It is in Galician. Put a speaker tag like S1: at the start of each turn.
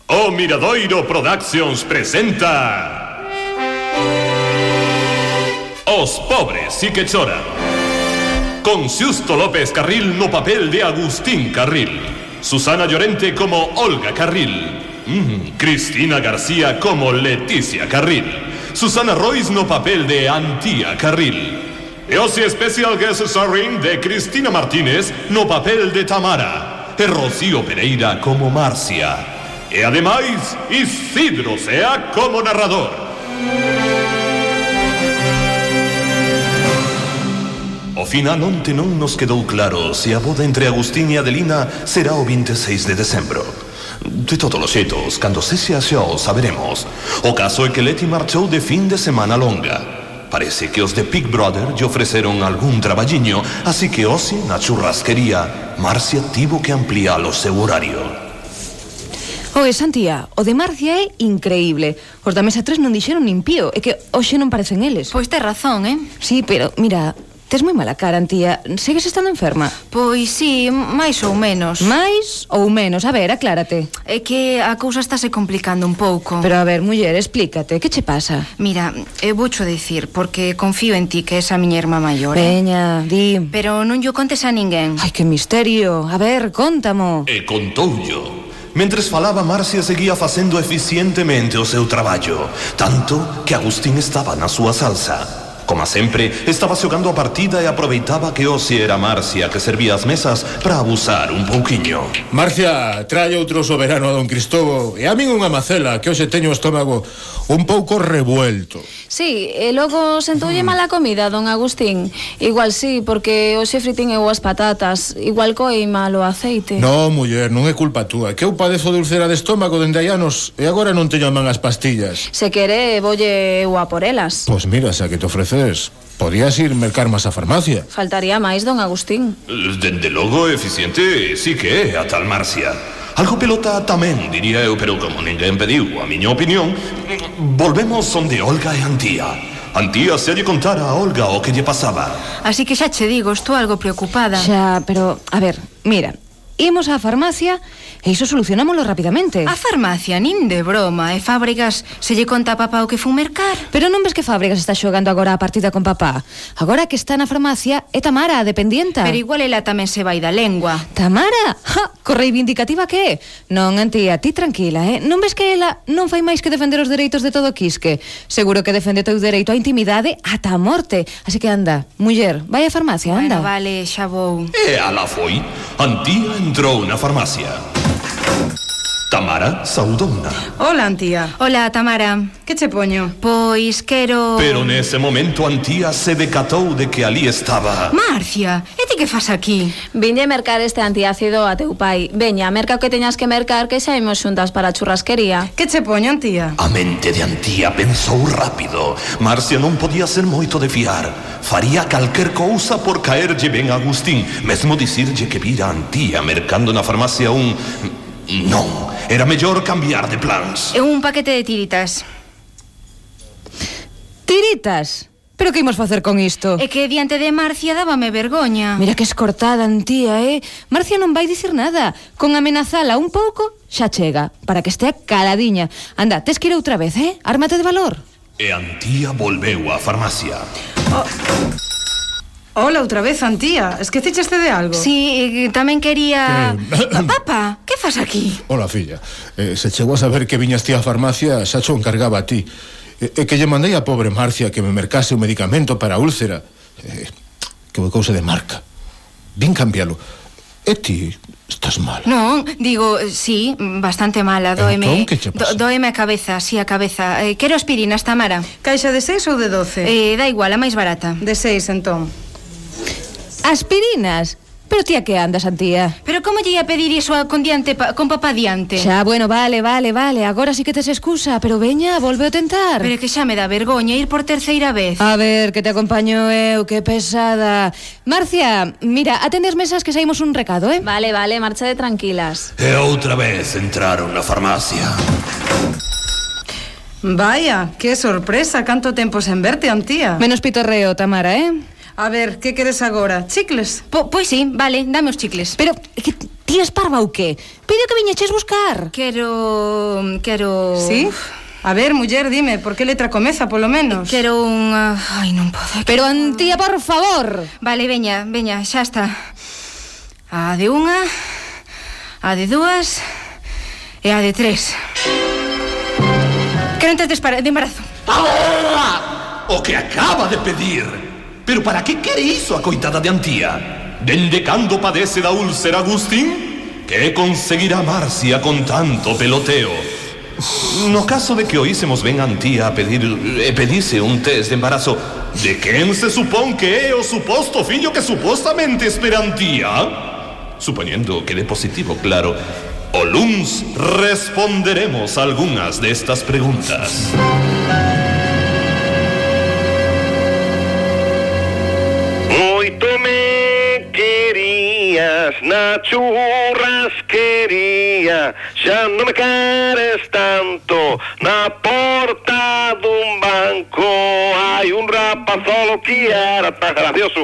S1: Grupo Oh, Miradoiro Productions presenta. Os pobres y que choran. Con Siusto López Carril no papel de Agustín Carril. Susana Llorente como Olga Carril. Mm, Cristina García como Leticia Carril. Susana Royce no papel de Antía Carril. Eosi Special Guest Starring de Cristina Martínez no papel de Tamara. E Rocío Pereira como Marcia. E ademais, Isidro Sea como narrador. O final onte non nos quedou claro se a boda entre Agustín e Adelina será o 26 de decembro. De todos os xeitos, cando se se axou, saberemos. O caso é que Leti marchou de fin de semana longa. Parece que os de Big Brother lle ofreceron algún traballiño, así que Ozzy na churrasquería, Marcia tivo que ampliar o seu horario.
S2: Oe, Santía, o de Marcia é increíble. Os da mesa 3 non dixeron nin pío, é que hoxe non parecen eles.
S3: Pois tes razón, eh?
S2: Sí, pero, mira, tes moi mala cara, Antía. Segues estando enferma.
S3: Pois sí, máis ou menos.
S2: Mais ou menos, a ver, aclárate.
S3: É que a cousa estáse complicando un pouco.
S2: Pero a ver, muller, explícate, que che pasa?
S3: Mira, eu voucho dicir, porque confío en ti que és a miña irmá maior. eh?
S2: Veña, di.
S3: Pero non yo contes a ninguén.
S2: Ai, que misterio. A ver, contamo.
S1: E contoullo. Mentres falaba, Marcia seguía facendo eficientemente o seu traballo, tanto que Agustín estaba na súa salsa. Como sempre, estaba xogando a partida e aproveitaba que Osi era Marcia que servía as mesas para abusar un pouquiño.
S4: Marcia, trae outro soberano a don Cristobo E a min unha macela que hoxe teño o estómago un pouco revuelto
S5: Sí, e logo sentoulle mala comida, don Agustín Igual sí, porque hoxe fritín eu as patatas Igual coi malo aceite
S4: No, muller, non é culpa túa Que eu padezo de úlcera de estómago dende hai anos E agora non teño a man as pastillas
S5: Se quere, volle eu a por elas
S4: Pois mira, xa que te ofreces Podías ir mercar más á farmacia
S5: Faltaría máis, don Agustín
S1: Dende logo, eficiente sí que é a tal Marcia. Algo pelota tamén, diría eu, pero como ninguén pediu a miña opinión, volvemos onde Olga e Antía. Antía se lle contara a Olga o que lle pasaba.
S3: Así que xa che digo, estou algo preocupada.
S2: Xa, pero, a ver, mira, imos á farmacia e iso solucionámoslo rapidamente.
S3: A farmacia, nin de broma, e fábricas se lle conta a papá o que fun mercar.
S2: Pero non ves que Fábricas está xogando agora a partida con papá? Agora que está na farmacia é Tamara, a dependienta.
S3: Pero igual ela tamén se vai da lengua.
S2: Tamara, ja, co reivindicativa que é? Non, Antía, ti tranquila, eh? Non ves que ela non fai máis que defender os dereitos de todo o Quisque? Seguro que defende o teu dereito á intimidade ata a morte. Así que anda, muller, vai á farmacia, anda.
S3: Bueno, vale, xa vou.
S1: E alá foi. Antía entrou na farmacia. Tamara saudouna.
S6: Hola, Antía.
S3: Hola, Tamara.
S6: Que che poño?
S3: Pois quero...
S1: Pero nese momento Antía se decatou de que ali estaba...
S3: Marcia, e ti que fas aquí?
S5: Vinlle mercar este antiácido a teu pai Veña, merca o que teñas que mercar que xa imos xuntas para a churrasquería
S6: Que che poño, Antía?
S1: A mente de Antía pensou rápido. Marcia non podía ser moito de fiar. Faría calquer cousa por caerlle ben a Agustín, mesmo dicirlle que vira a Antía mercando na farmacia un... Non, era mellor cambiar de plans.
S3: É un paquete de tiritas.
S2: Tiritas, pero que imos facer con isto?
S3: E que diante de Marcia dábame vergoña.
S2: Ah. Mira que escortada, Antía, eh? Marcia non vai dicir nada. Con amenazala un pouco, xa chega, para que estea caladiña. Anda, tes que ir outra vez, eh? Ármate de valor.
S1: E Antía volveu á farmacia.
S6: Hola outra vez, Antía. Esquecicheste de algo?
S3: Sí, e tamén quería...
S4: Que-
S3: Papá, que fas aquí?
S4: Hola, filla eh, Se chegou a saber que viñas ti á farmacia Xa xo encargaba a ti E, e que lle mandei a pobre Marcia que me mercase un medicamento para a úlcera eh, Que foi cousa de marca Vin cambialo E ti estás mal
S3: Non, digo, sí, bastante mala, doeme...
S4: Entón, que che pasa?
S3: do- doeme a cabeza, sí, a cabeza. Eh, quero aspirinas, Tamara.
S6: Caixa de 6 ou de 12?
S3: Eh, da igual, a máis barata.
S6: De 6, entón.
S2: Aspirinas. Pero tía que andas, Antía?
S3: Pero como lle ia pedir iso a, con, diante, pa, con papá diante?
S2: Xa, bueno, vale, vale, vale, agora sí que tes excusa, pero veña, volve a tentar.
S3: Pero é que xa me dá vergoña ir por terceira vez.
S2: A ver, que te acompaño eu, que pesada. Marcia, mira, atendes mesas que saímos un recado, eh?
S5: Vale, vale, marcha de tranquilas
S1: E outra vez entraron na farmacia.
S6: Vaya, que sorpresa, canto tempo sen verte, Antía.
S2: Menos pitorreo, Tamara, eh?
S6: A ver, que queres agora? Chicles?
S3: Po, pois sí, vale, dame os chicles.
S2: Pero, que ti Ti es parva ou que? Pediu que viñeches buscar.
S3: Quero... Quero...
S6: Sí? A ver, muller, dime, por que letra comeza, polo menos?
S3: Quero unha... Ai, non podo.
S2: Pero Antía, por favor.
S3: Vale, veña, veña, xa está. A de unha, a de dúas e a de tres. Quero antes de espara- de embarazo.
S1: ¡Ahora! O que acaba de pedir. Pero para que quere iso a coitada de Antía? Dende cando padece da úlcera Agustín? Que conseguirá Marcia con tanto peloteo? No caso de que oísemos ben Antía a pedir, e pedise un test de embarazo, de quen se supón que é o suposto fillo que supostamente espera Antía? Supoñendo que dé positivo, claro, o LUNS responderemos a algunas de estas preguntas.
S7: Moito me querías na churrasquería Xa non me queres tanto na porta dun banco Hai un rapazolo que era tan gracioso